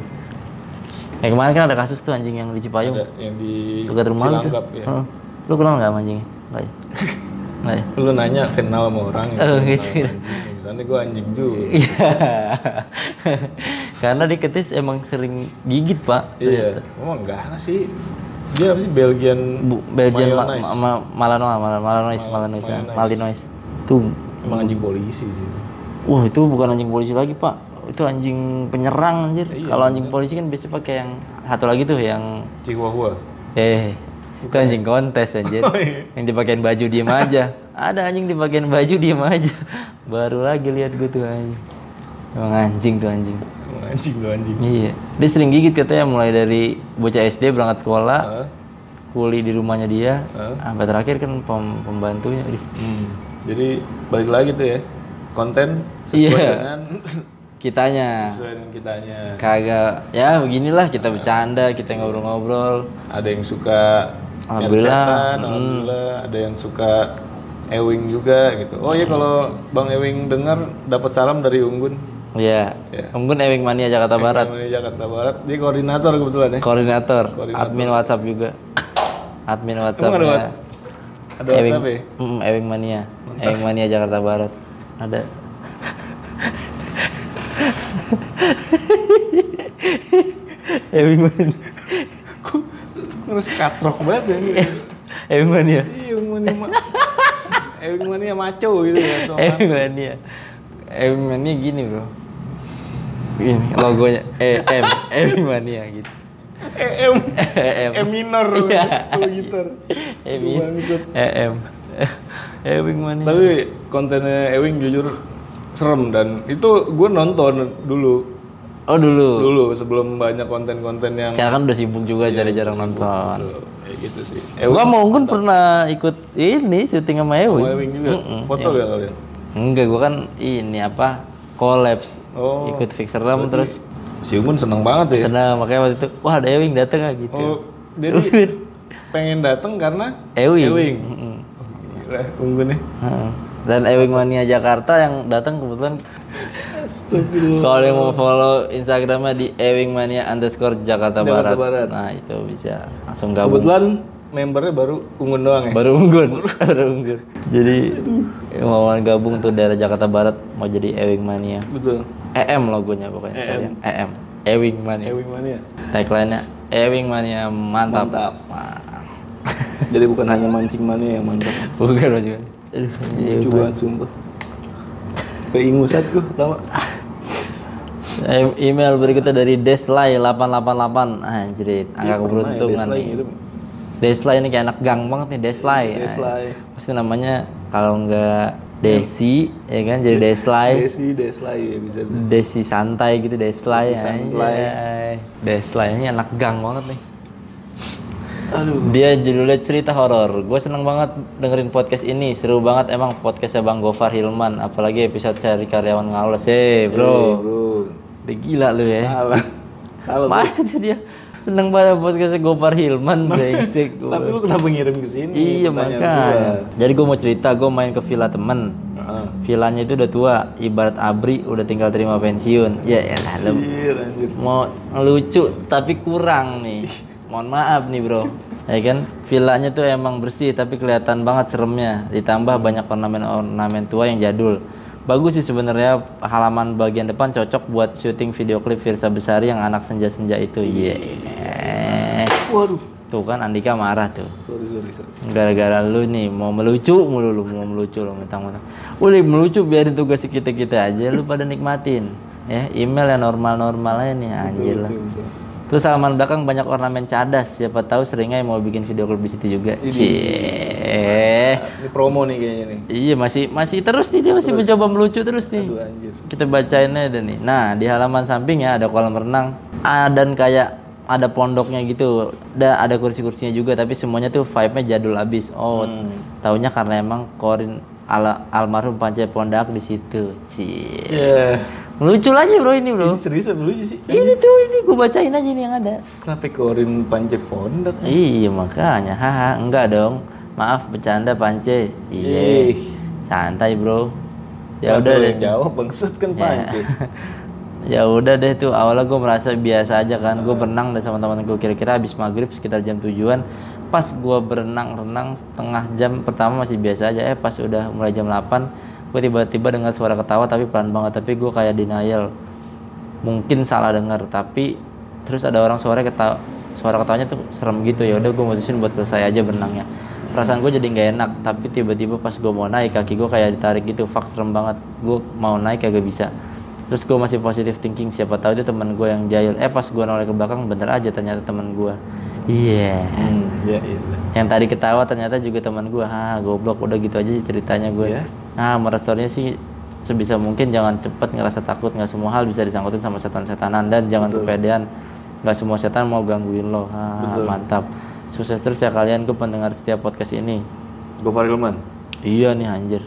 Eh kemarin kan ada kasus tuh anjing yang di Cipayung
Yang di
dekat rumah lu tuh.
Cilangkap ya.
Heeh. Lu kenal nggak sama anjingnya? Nggak ya? Nggak ya?
Lu nanya kenal sama orang
Oh,
kenal
gitu.
sama anjing. Misalnya gue anjing juga.
Iya. [LAUGHS] Karena di Ketis emang sering gigit, Pak.
Iya. Emang enggak sih. Dia apa sih Belgian
Bu, Belgian ma
Malinois.
ma Malanois, Mal- Malanois, Malanois, ya.
Malinois.
Malinois. Tuh,
Emang
Hmm.
anjing polisi sih.
wah itu bukan anjing polisi lagi pak, itu anjing penyerang anjir. Kalau anjing polisi kan biasanya pakai yang satu lagi tuh yang
Chihuahua.
eh itu anjing kontes [LAUGHS] anjir. yang dipakein baju diem aja. Ada anjing dipakein baju diem aja. Baru lagi lihat gue tuh anjing. Emang anjing tuh anjing.
Emang anjing lu anjing.
Iya, dia sering gigit katanya mulai dari bocah SD berangkat sekolah,
Hah?
kuli di rumahnya dia,
Heeh.
sampai terakhir kan pem- pembantunya. Aduh.
Hmm. Jadi balik lagi tuh ya. Konten sesuai
Iya.
dengan
Kitanya
sesuai dengan kitanya.
kagak ya beginilah kita bercanda, kita ngobrol-ngobrol.
Ada yang suka
Alhamdulillah. Hmm.
Mercedes-an, alhamdulillah. Ada yang suka Ewing juga gitu. Oh iya kalau Bang Ewing dengar dapat salam dari Unggun.
Iya. Unggun Ewing Mania Jakarta Barat,
Yang Dari Jakarta Barat. Dia koordinator kebetulan ya.
koordinator, admin WhatsApp juga. Admin WhatsAppnya
Ada WhatsApp ya?
Mm, Ewing Mania, Ewing Mania Jakarta Barat. Ada. Ewing Mania.
Harus katrok banget ya. ini.
Ewing Mania.
Iya, Ewing Mania ma- Ewing Mania maco gitu ya. tuh orang.
Ewing Mania. Ewing Mania gini, Bro. Ini logonya E M Ewing Mania gitu.
EM
EM.
Eh, E minor
Iya. E
kalau gitar.
Ewing.
Bangsat.
EM. Ewing Mania.
Tapi kontennya Ewing jujur serem dan itu gue nonton dulu
Oh dulu.
dulu Iya, sebelum banyak konten-konten yang
Sekarang kan udah sibuk juga jarang-jarang nonton.
Aduh, kayak gitu sih.
Gua mau Unggun pernah ikut ini syuting sama
Ewing,
Ewing. Iya.
Ewing juga foto gak kalian?
Enggak, gua kan ini apa? Collabs.
Oh.
Ikut fix serem terus
Si Ungun seneng banget ya.
senang makanya waktu itu wah ada Ewing dateng ah gitu. [LAUGHS]
Oh, [LAUGHS] jadi pengen dateng karena
Ewing.
Ewing.
Mm-mm.
Oh, Gila, Unggun ya.
Heeh. Dan Ewing Mania Jakarta yang datang kebetulan
[LAUGHS] Astagfirullah.
kalau yang mau follow Instagramnya di Ewing Mania underscore Jakarta,
Jakarta
Barat.
Barat.
Nah itu bisa langsung gabung.
Kebetulan membernya baru Ungun doang ya.
Baru unggun, [LAUGHS] baru unggun. Jadi mau gabung tuh daerah Jakarta Barat mau jadi Ewing Mania.
Betul.
EM E logonya pokoknya. E
EM.
kalian. EM. Ewing Mania.
E Ewing Mania.
ya. Tagline-nya Ewing Mania mantap.
Mantap. [LAUGHS]
Wah.
Jadi bukan hanya mancing mania yang mantap.
Bukan maju. Aduh, Ewing
Coba sumpah. Keingusat gue ketawa.
Em- Email berikutnya dari Deslay888 Anjir, angka keberuntungan
Deslay gitu.
nih
ya, ngirim.
Deslay ini kayak anak gang banget nih, Deslay
iya. Deslay.
Ah, Pasti namanya kalau nggak Desi, ya kan, jadi Deslay
Desi Deslay ya bisa.
Desi santai gitu, Deslay
Desi santai.
anjay. Deslay ini anak gang banget nih
Aduh.
Dia judulnya cerita horor. Gue seneng banget dengerin podcast ini. Seru banget emang podcastnya Bang Gofar Hilman. Apalagi episode cari karyawan ngawles. Hei bro,
Eh, Bro.
udah gila lu ya.
Salah. Salah.
Mana tuh dia seneng banget podcastnya Gofar Hilman. Brengsek. gua.
Tapi lu kenapa ngirim ke sini?
Iya makanya. Jadi gue mau cerita, gue main ke villa temen.
Heeh.
Villanya itu udah tua, ibarat abri udah tinggal terima pensiun. Ya elah lu
Anjir, anjir.
mau lucu tapi kurang nih mohon maaf nih bro ya kan villanya tuh emang bersih tapi kelihatan banget seremnya ditambah banyak ornamen ornamen tua yang jadul bagus sih sebenarnya halaman bagian depan cocok buat syuting video klip Firsa Besari yang anak senja-senja itu iya
Waduh.
tuh kan Andika marah tuh
Sorry, sorry, sorry.
gara-gara lu nih mau melucu mulu lu mau melucu lu mentang-mentang Uli melucu biarin tugas kita kita aja lu pada nikmatin ya email yang normal-normal aja nih anjir lah Terus halaman belakang banyak ornamen cadas. Siapa tahu seringnya yang mau bikin video klip di situ juga. Cie.
Ini promo nih kayaknya nih.
Iya masih masih terus nih dia masih mencoba melucu terus nih.
Aduh, anjir.
Kita bacain aja nih. Nah di halaman sampingnya ada kolam renang. Ah, dan kayak ada pondoknya gitu. Ada ada kursi-kursinya juga tapi semuanya tuh vibe-nya jadul abis. Oh
Hmm.
taunya karena emang korin ala almarhum Panca Pondak di situ. Cie.
Iya.
Lucu lagi bro ini bro.
Ini seriusan lucu sih.
Ini tuh ini gue bacain aja nih yang ada.
Kenapa korin panjat pondok?
Iya makanya, haha enggak dong. Maaf bercanda Pance. Iya.
Ih.
Santai bro. Ya
Kenapa
udah
lu
deh.
Iya. yang jawab bangsat kan panci.
ya udah deh tuh awalnya gue merasa biasa aja kan gue berenang deh sama teman gue kira-kira habis maghrib sekitar jam tujuan pas gue berenang renang setengah jam pertama masih biasa aja eh pas udah mulai jam 8 gue tiba-tiba dengar suara ketawa tapi pelan banget tapi gue kayak denial mungkin salah dengar tapi terus ada orang suara ketawa suara ketawanya tuh serem gitu ya udah gue mutusin buat selesai aja berenangnya perasaan gue jadi nggak enak tapi tiba-tiba pas gue mau naik kaki gue kayak ditarik gitu fuck serem banget gue mau naik kagak bisa terus gue masih positive thinking siapa tahu dia teman gue yang jahil eh pas gue noleh ke belakang bener aja ternyata teman gue iya
Hmm, ya iyalah.
yang tadi ketawa ternyata juga teman gue ah goblok udah gitu aja sih ceritanya gue
Iya.
ah merestornya sih sebisa mungkin jangan cepet ngerasa takut nggak semua hal bisa disangkutin sama setan-setanan dan jangan kepedean nggak semua setan mau gangguin lo ah mantap sukses terus ya kalian ke pendengar setiap podcast ini
Gopar Hilman.
iya nih anjir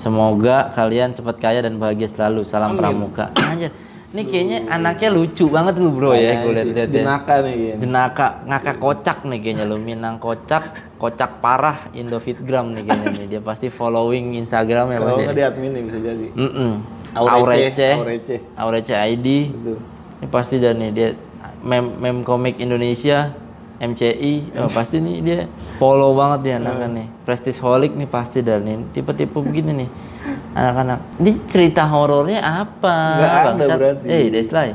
semoga kalian cepet kaya dan bahagia selalu salam pramuka anjir ini kayaknya anaknya lucu banget lu bro ya gue liat-liat ya
Jenaka nih kayaknya.
jenaka ngakak kocak nih kayaknya lu Minang kocak kocak parah Indofitgram nih kayaknya nih dia pasti following Instagram ya
Kalau
pasti
nggak di admin nih bisa jadi.
Mm-mm.
Aurece,
Aurece
Aurece.
Aurece ID
Betul.
ini pasti dan nih dia mem mem komik Indonesia MCI oh, pasti nih dia follow banget dia anak nih prestis holic nih pasti dan nih tipe-tipe begini nih anak-anak ini cerita horornya apa
Nggak ada
bangsat?
berarti.
eh Deslay Ih.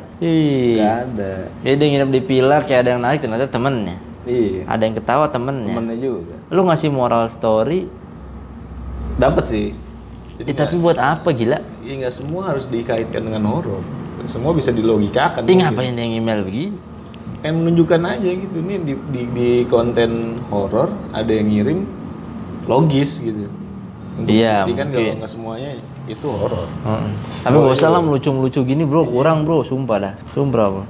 Nggak ada.
Jadi Ya dia nginep di Pilar kayak ada yang narik ternyata temennya.
Iya.
Ada yang ketawa temennya.
Temennya juga.
Lu ngasih moral story,
Dapat sih. Jadi
eh, tapi buat apa gila?
ya nggak semua harus dikaitkan dengan horor. Semua bisa dilogikakan.
Ih
mungkin.
ngapain dia email begini?
Pengen menunjukkan aja gitu nih di, di, di konten horor ada yang ngirim logis gitu. Untuk
Iya,
membuktikan
mungkin.
kalau nggak semuanya itu horor.
Heeh. Tapi gak usah lah lucu-lucu gini
Iya.
bro, kurang bro, sumpah dah. Sumpah bro.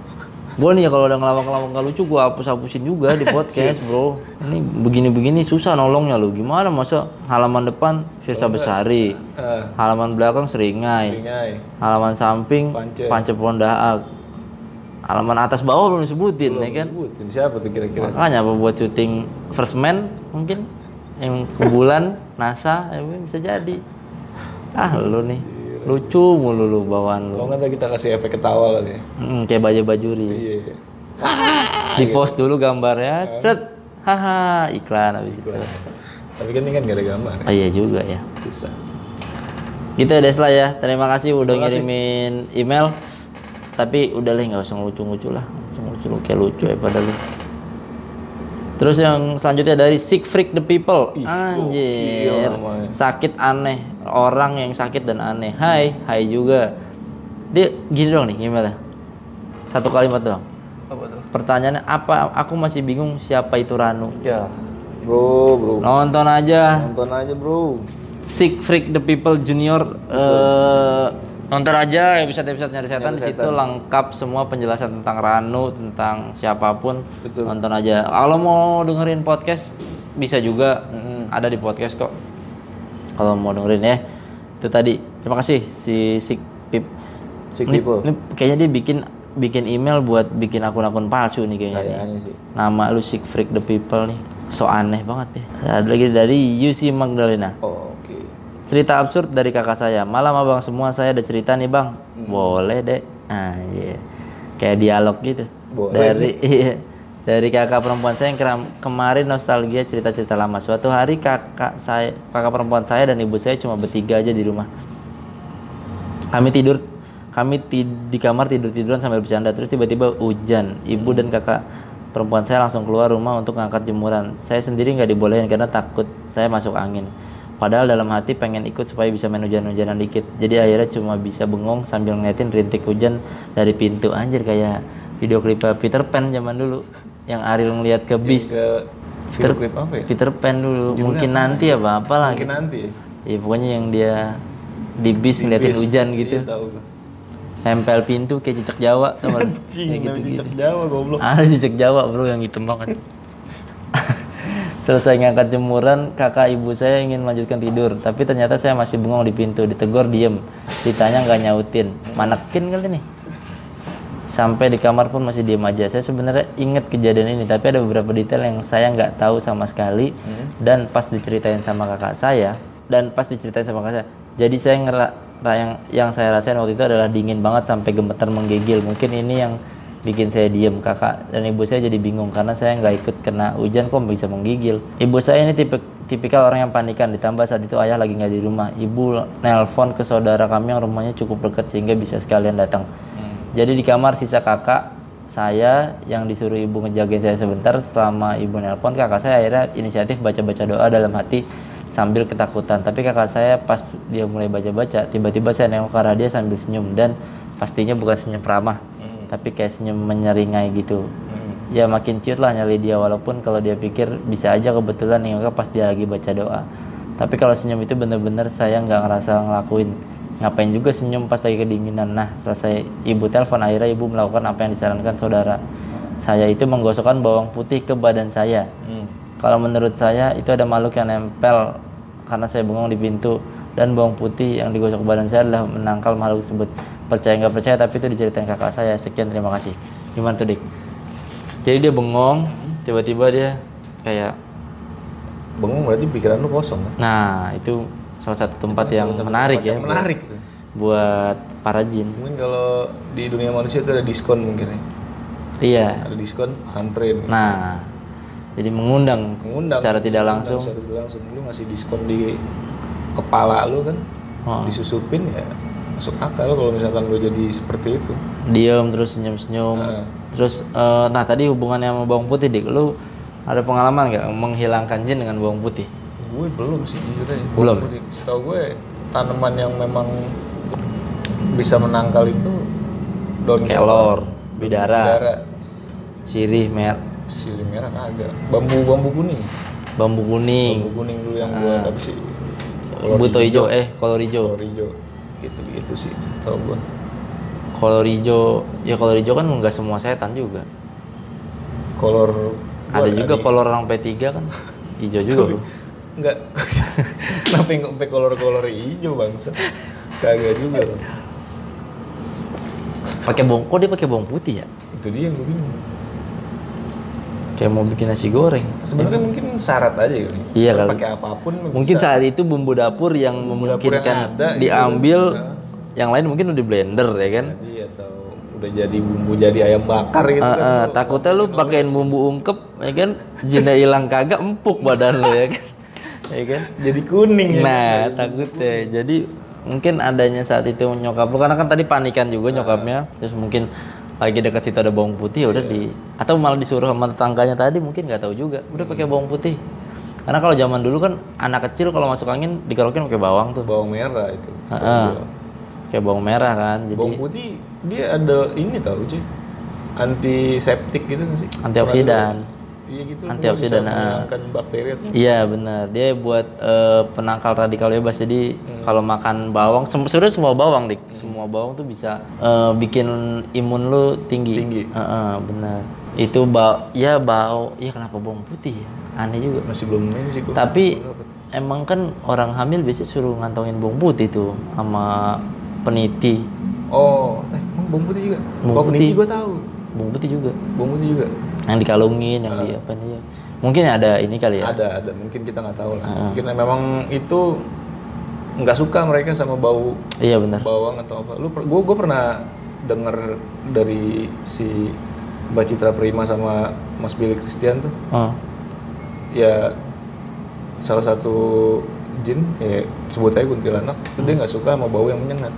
Gue nih ya kalau udah ngelawak-ngelawak gak lucu, gue hapus-hapusin juga di
[LAUGHS]
podcast
Iya.
bro. Ini begini-begini susah nolongnya lu. Gimana masa halaman depan Firsa Besari,
Eh,
halaman belakang Seringai,
ringai.
halaman samping
Pance.
Pance Pohon Daak halaman atas bawah belum disebutin ya kan
Sebutin siapa tuh kira-kira?
makanya apa buat syuting first man mungkin yang ke
[LAUGHS]
bulan NASA ya mungkin bisa jadi ah
Iya.
lu nih lucu mulu lu bawaan lu
Kalau nggak ntar kita kasih efek ketawa kali ya.
Mm, kayak baju bajuri
Iya.
di post dulu gambarnya cet haha iklan habis itu
Tapi kan ini kan nggak ada gambar.
oh iya juga ya
Susah.
gitu ya Desla ya terima kasih udah ngirimin email tapi udah lah nggak usah lucu-lucu lah lucu lucu kayak lucu ya pada lu terus yang selanjutnya dari sick freak the people anjir
namanya.
sakit aneh orang yang sakit dan aneh hai hai juga dia gini dong nih gimana satu kalimat doang
Apa tuh?
pertanyaannya apa aku masih bingung siapa itu Ranu
Ya. Bro, bro.
nonton aja
Nonton aja, bro.
Sick Freak the People Junior eh nonton aja episode-episode nyari setan di situ lengkap semua penjelasan tentang Ranu tentang siapapun nonton aja kalau mau dengerin podcast bisa juga ada di podcast kok kalau mau dengerin ya itu tadi terima kasih si Sick Pip
Sick
ini,
people.
ini kayaknya dia bikin bikin email buat bikin akun-akun palsu nih kayaknya nih.
Kayaknya sih.
nama lu Sick Freak the People nih so aneh banget ya ada lagi dari UC Magdalena
Oh, Oke.
Cerita absurd dari kakak saya. Malam abang semua saya ada cerita nih bang. Boleh dek. Anjir. Kayak dialog gitu.
Boleh,
dari [LAUGHS] iya. dari kakak perempuan saya yang keram- kemarin nostalgia cerita-cerita lama. Suatu hari kakak saya, kakak perempuan saya dan ibu saya cuma bertiga aja di rumah. Kami tidur kami ti- di kamar tidur-tiduran sambil bercanda terus tiba-tiba hujan. Ibu dan kakak perempuan saya langsung keluar rumah untuk ngangkat jemuran. Saya sendiri nggak dibolehin karena takut saya masuk angin. Padahal dalam hati pengen ikut supaya bisa main hujan-hujanan dikit. Jadi akhirnya cuma bisa bengong sambil ngeliatin rintik hujan dari pintu. Anjir kayak video klip Peter Pan zaman dulu yang Ariel ngeliat ke bis.
Ke Eh, video klip apa ya?
Peter Pan dulu. Mungkin nanti ya, apalah
Mungkin
gitu.
nanti. ya?
Ya pokoknya yang dia di bis ngeliatin
Bis.
hujan gitu
Iya, tahu.
tempel pintu kayak cicak Jawa sama
[LAUGHS] Cing, namanya cicak Jawa goblok.
ada Ah, [LAUGHS] cicak Jawa bro yang hitam banget [LAUGHS] selesai ngangkat jemuran kakak ibu saya ingin melanjutkan tidur tapi ternyata saya masih bengong di pintu ditegur diem ditanya nggak nyautin manekin kali nih sampai di kamar pun masih diem aja saya sebenarnya inget kejadian ini tapi ada beberapa detail yang saya nggak tahu sama sekali dan pas diceritain sama kakak saya dan pas diceritain sama kakak saya jadi saya ngera- ra- yang yang saya rasain waktu itu adalah dingin banget sampai gemetar menggigil. Mungkin ini yang bikin saya diem kakak dan ibu saya jadi bingung karena saya nggak ikut kena hujan kok bisa menggigil. Ibu saya ini tipe tipikal orang yang panikan ditambah saat itu ayah lagi nggak di rumah. Ibu nelpon ke saudara kami yang rumahnya cukup dekat sehingga bisa sekalian datang. Jadi di kamar sisa kakak saya yang disuruh ibu ngejagain saya sebentar selama ibu nelpon kakak saya akhirnya inisiatif baca-baca doa dalam hati sambil ketakutan tapi kakak saya pas dia mulai baca-baca tiba-tiba saya nengok ke arah dia sambil senyum dan pastinya bukan senyum ramah tapi kayak senyum menyeringai gitu ya makin ciut lah nyali dia walaupun kalau dia pikir bisa aja kebetulan nengoknya pas dia lagi baca doa tapi kalau senyum itu bener-bener saya nggak ngerasa ngelakuin ngapain juga senyum pas lagi kedinginan nah selesai ibu telepon akhirnya ibu melakukan apa yang disarankan saudara saya itu menggosokkan bawang putih ke badan saya kalau menurut saya itu ada makhluk yang nempel karena saya bengong di pintu dan bawang putih yang digosok ke badan saya adalah menangkal makhluk tersebut percaya nggak percaya tapi itu diceritain kakak saya sekian terima kasih gimana tuh dik jadi dia bengong tiba-tiba dia kayak
Bengong berarti pikiran lu kosong kan?
nah itu salah satu tempat yang menarik ya buat-
Menarik tuh.
buat para jin
Mungkin kalau di dunia manusia itu ada diskon mungkin ya.
Iya.
Ada diskon samperin.
Nah, jadi mengundang,
Mengundang.
secara tidak
Mengundang
langsung.
Secara tidak langsung lu ngasih diskon di kepala lu kan.
Oh,
Disusupin ya masuk akal kalau misalkan lu jadi seperti itu.
diam terus senyum-senyum.
Heeh.
Terus eh, nah tadi hubungannya sama bawang putih Dik, lu ada pengalaman nggak menghilangkan jin dengan bawang putih?
Gue belum sih jujur aja.
Belum? ya?
Gue di- Setahu gue tanaman yang memang bisa menangkal itu daun
Kelor, bidara,
darah,
sirih, mer,
sirih merah kagak. Bambu bambu kuning.
bambu
Bambu
kuning, Ah.
kuning dulu yang gue tapi sih
buto hijau eh kolor hijau.
kolor hijau gitu-gitu sih setahu gue.
Kolor hijau, ya kolor hijau kan nggak semua setan juga.
Kolor gua
Ada juga kolor orang P3 kan hijau juga, Bro.
Enggak. [LAUGHS] Kenapa yang sampai kolor-kolor hijau bangsa? Kagak juga loh.
Pakai bawang, kok dia pakai bawang putih ya?
Itu dia yang gue bingung.
Kayak mau bikin nasi goreng.
Sebenarnya mungkin syarat aja kali.
Iya kali.
Pakai apapun
Mungkin
bisa.
saat itu bumbu dapur yang
dapur yang
memungkinkan
ada gitu.
diambil,
Nah.
yang lain mungkin udah di blender ya kan.
jadi atau udah jadi bumbu jadi ayam bakar gitu
Eh,
kan.
eh, takutnya lu pakaiin bumbu ungkep ya kan, jinnya hilang kagak empuk badan lu ya kan. Ya kan?
Jadi kuning ya.
Nah, takutnya. Jadi mungkin adanya saat itu nyokap lu karena kan tadi panikan juga nyokapnya. Terus mungkin lagi dekat situ ada bawang putih ya
Iya.
udah di atau malah disuruh sama tetangganya tadi mungkin nggak tahu juga. Udah pakai bawang putih. Karena kalau zaman dulu kan anak kecil kalau masuk angin dikerokin pakai bawang tuh.
kan, Bawang merah itu. setahu
Heeh.
gua.
Kayak bawang merah kan, jadi
Bawang putih dia ada ini tau cuy. Antiseptik gitu nggak sih?
antioksidan.
Iya gitu. dia
Antioksidan,
Bisa
ah.
menghilangkan bakteri atau
Iya benar, dia buat eh, penangkal radikal bebas. Jadi
Hmm.
kalau makan bawang, sem- sebenarnya semua bawang dik, semua bawang tuh bisa eh, bikin imun lu tinggi.
Tinggi.
Heeh, benar. Itu bau, ya bau, ya kenapa bawang putih? ya? Aneh juga.
masih belum ini sih gua.
Tapi emang kan orang hamil biasanya suruh ngantongin bawang putih tuh sama peniti,
Oh, eh, emang bawang putih juga.
Bawang
Bawang putih
putih.
gua tahu.
bawang putih juga.
Bawang putih juga.
yang dikalungin yang di apa nih ya. mungkin ada ini kali ya
Ada, ada. Mungkin kita nggak
Ah.
tahu lah. Mungkin memang itu nggak suka mereka sama bau
iya benar
bawang atau apa. Lu gue gue pernah denger dari si Mbak Citra Prima sama Mas Billy Christian tuh.
oh
ya salah satu jin ya sebut aja kuntilanak itu dia nggak suka sama bau yang menyengat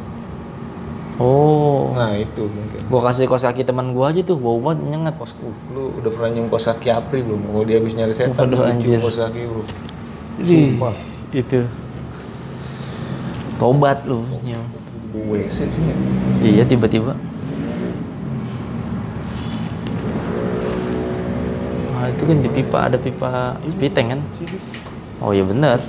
oh
nah itu mungkin
gua kasih kos kaki teman gua aja tuh bau banget nyengat
kosku lu udah pernah nyium kos kaki apri belum kalau dia habis nyari setan
Waduh,
lu
anjir.
cium kos kaki lu
Ih,
sumpah
itu tobat lu nyium.
gue sih sih
iya tiba-tiba Wah, itu kan di pipa ada pipa spiteng kan oh iya benar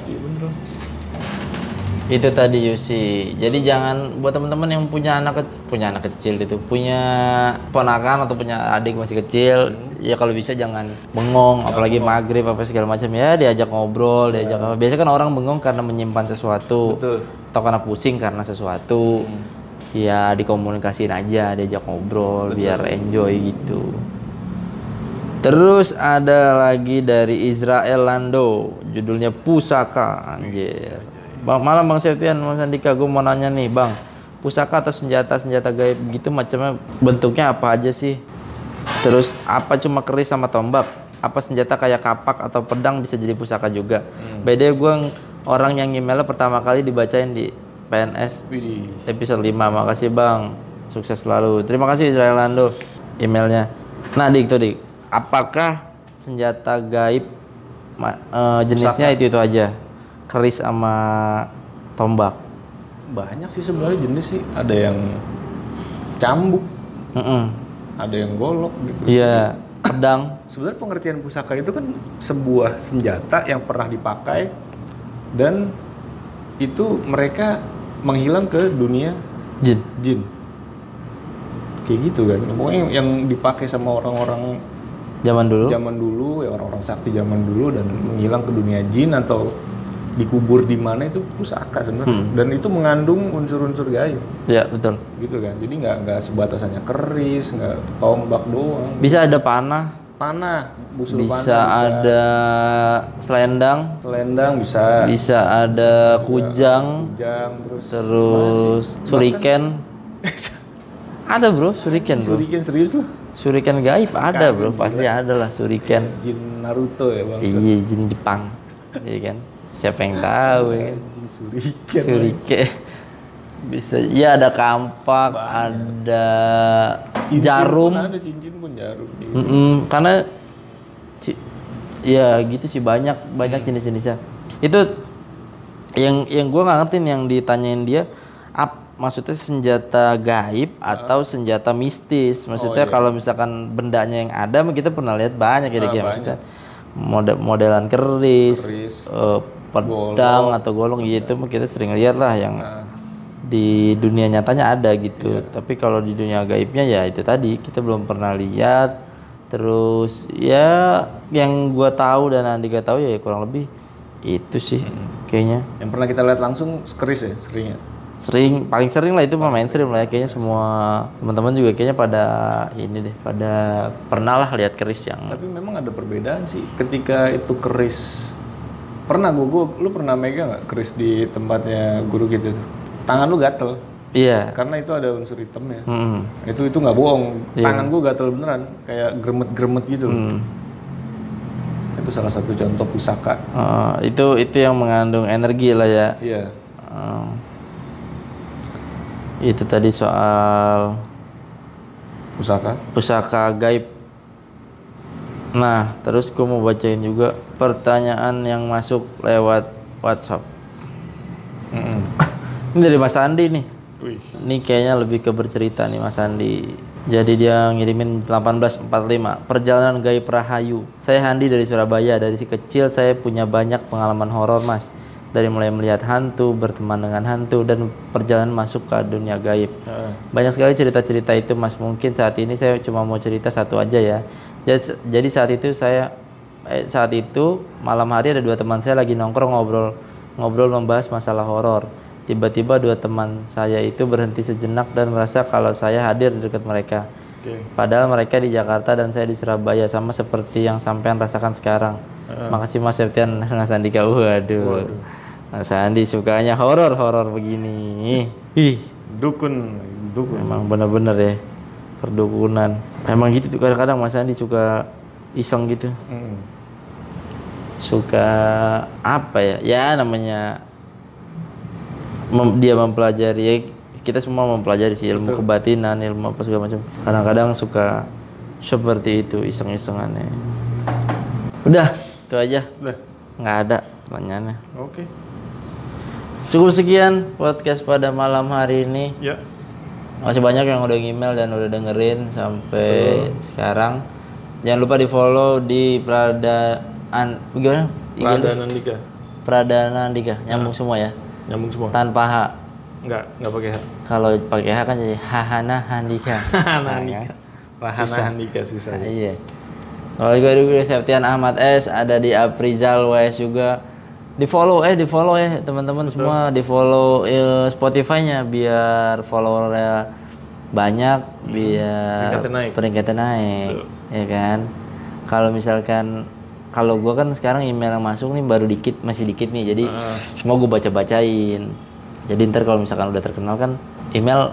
itu tadi Yusi jadi jangan buat teman-teman yang punya anak ke- punya anak kecil itu punya ponakan atau punya adik masih kecil ya kalau bisa jangan bengong apalagi maghrib apa segala macam ya diajak ngobrol diajak apa biasanya kan orang bengong karena menyimpan sesuatu
Betul.
atau karena pusing karena sesuatu ya dikomunikasiin aja diajak ngobrol biar enjoy gitu Terus ada lagi dari Israel Lando, judulnya Pusaka, anjir. Bang, malam Bang Septian, Mas Andika, gue mau nanya nih Bang. Pusaka atau senjata-senjata gaib gitu macamnya bentuknya apa aja sih? Terus apa cuma keris sama tombak? Apa senjata kayak kapak atau pedang bisa jadi pusaka juga? Beda gue orang yang emailnya pertama kali dibacain di PNS
Widih.
episode 5. Makasih Bang. Sukses selalu. Terima kasih Israel Lando emailnya. Nah, Dik, tuh Dik. Apakah senjata gaib ma- eh, jenisnya itu-itu aja? Keris sama tombak.
Banyak sih sebenarnya jenis sih. Ada yang cambuk,
Mm-mm.
ada yang golok gitu.
Iya, pedang.
Sebenarnya pengertian pusaka itu kan sebuah senjata yang pernah dipakai dan itu mereka menghilang ke dunia
Jin.
jin. Kayak gitu kan. Pokoknya yang dipakai sama orang-orang
Zaman dulu.
zaman dulu ya orang-orang sakti zaman dulu dan menghilang ke dunia jin atau dikubur di mana itu pusaka sebenarnya dan itu mengandung unsur-unsur gaib
Ya, betul.
gitu kan jadi nggak nggak sebatas hanya keris nggak tombak doang
Bisa ada panah,
panah busur
bisa,
panah
ada selendang,
selendang bisa
bisa ada kujang,
jam terus
terus suriken. ada, Bro, suriken, Bro.
suriken serius lu
Suriken gaib ada, Bro. Pasti ada lah suriken.
jin Naruto ya bang
Iya, jin Jepang. Iya kan? Siapa yang tahu ya kan?
jin suriken
Suriken. Bisa ya ada kampak, ada
Cincin
jarum. Hmm.
pun ada cincin pun jarum gitu.
Mm-mm, karena ci- ya gitu sih banyak banyak jenis-jenisnya. Itu yang yang gua nggak ngerti nih yang ditanyain dia ap, maksudnya senjata gaib atau senjata mistis. Maksudnya kalau misalkan bendanya yang ada kita pernah lihat banyak ya, Dik, ya maksudnya. Model modelan keris,
Keris,
eh, pedang atau golong gitu mah kita sering lihat lah yang di dunia nyatanya ada gitu tapi kalau di dunia gaibnya ya itu tadi kita belum pernah lihat terus ya yang gua tahu dan Andika tahu ya kurang lebih itu sih kayaknya
yang pernah kita lihat langsung keris ya seringnya
sering paling sering lah itu mah mainstream lah ya. kayaknya semua teman-teman juga kayaknya pada ini deh pada pernah lah lihat keris yang
tapi memang ada perbedaan sih ketika itu keris pernah gue gue lu pernah megang nggak keris di tempatnya guru gitu tuh tangan lu gatel
iya
karena itu ada unsur hitamnya
Mm-mm.
itu itu nggak bohong tangan gue gatel beneran kayak gremet gremet gitu loh.
Mm.
itu salah satu contoh pusaka
Eh, itu itu yang mengandung energi lah ya
iya
Um, itu tadi soal
pusaka
pusaka gaib. Nah, terus gue mau bacain juga pertanyaan yang masuk lewat WhatsApp.
Mm-mm.
[LAUGHS] Ini dari Mas Andi nih.
Wih.
Ini kayaknya lebih ke bercerita nih Mas Andi. Jadi dia ngirimin 1845 Perjalanan Gaib Rahayu Saya Handi dari Surabaya Dari si kecil saya punya banyak pengalaman horor mas Dari mulai melihat hantu Berteman dengan hantu Dan perjalanan masuk ke dunia gaib
Heeh.
Banyak sekali cerita-cerita itu mas Mungkin saat ini saya cuma mau cerita satu aja ya Jadi, jadi saat itu saya eh, Saat itu malam hari ada dua teman saya lagi nongkrong ngobrol Ngobrol membahas masalah horor Tiba-tiba dua teman saya itu berhenti sejenak dan merasa kalau saya hadir di dekat mereka.
Oke.
Padahal mereka di Jakarta dan saya di Surabaya sama seperti yang sampean rasakan sekarang. Makasih Mas Septian, Mas Andika. Waduh. Mas Andi sukanya horor-horor begini. Ih,
dukun dukun
memang bener-bener ya perdukunan. Emang gitu tuh kadang-kadang Mas Andi suka iseng gitu.
Mm-mm.
Suka apa ya? Ya namanya mem- dia mempelajari ya kita semua mempelajari sih ilmu kebatinan ilmu apa segala macam kadang-kadang suka seperti itu iseng-isengannya udah itu aja
udah
nggak ada pertanyaannya
oke
cukup sekian podcast pada malam hari ini
ya
masih banyak yang udah email dan udah dengerin sampai sekarang jangan lupa di follow di peradaan gimana IG lu?
Radha Nandika
Pradana Andika nyambung semua ya
nyambung semua
tanpa H
nggak nggak pakai H
Kalau pakai H kan jadi Hahana Handika.
Hahana
Nah,
Handika.
kan?
Rahana Nandika susah
Nah, iya. Kalau gue dulu Septian Ahmad S ada di Aprizal WS juga. Di follow eh di follow ya teman-teman semua di follow eh, Spotify-nya biar followernya banyak biar
Hmm. Peringkatnya naik.
peringkatnya naik, ya kan. Kalau misalkan kalau gua kan sekarang email yang masuk nih baru dikit masih dikit nih jadi
Ah.
semua gua baca bacain jadi ntar kalau misalkan udah terkenal kan email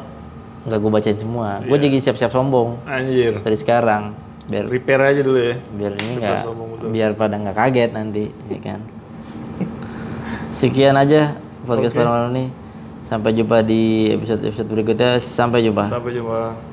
nggak gua bacain semua gua
Iya.
jadi siap-siap sombong
Anjir.
dari sekarang biar
Repair aja dulu ya.
biar ini nggak biar pada nggak kaget nanti ya kan sekian aja
Nah.
podcast pada malam ini sampai jumpa di episode episode berikutnya sampai jumpa
Sampai jumpa.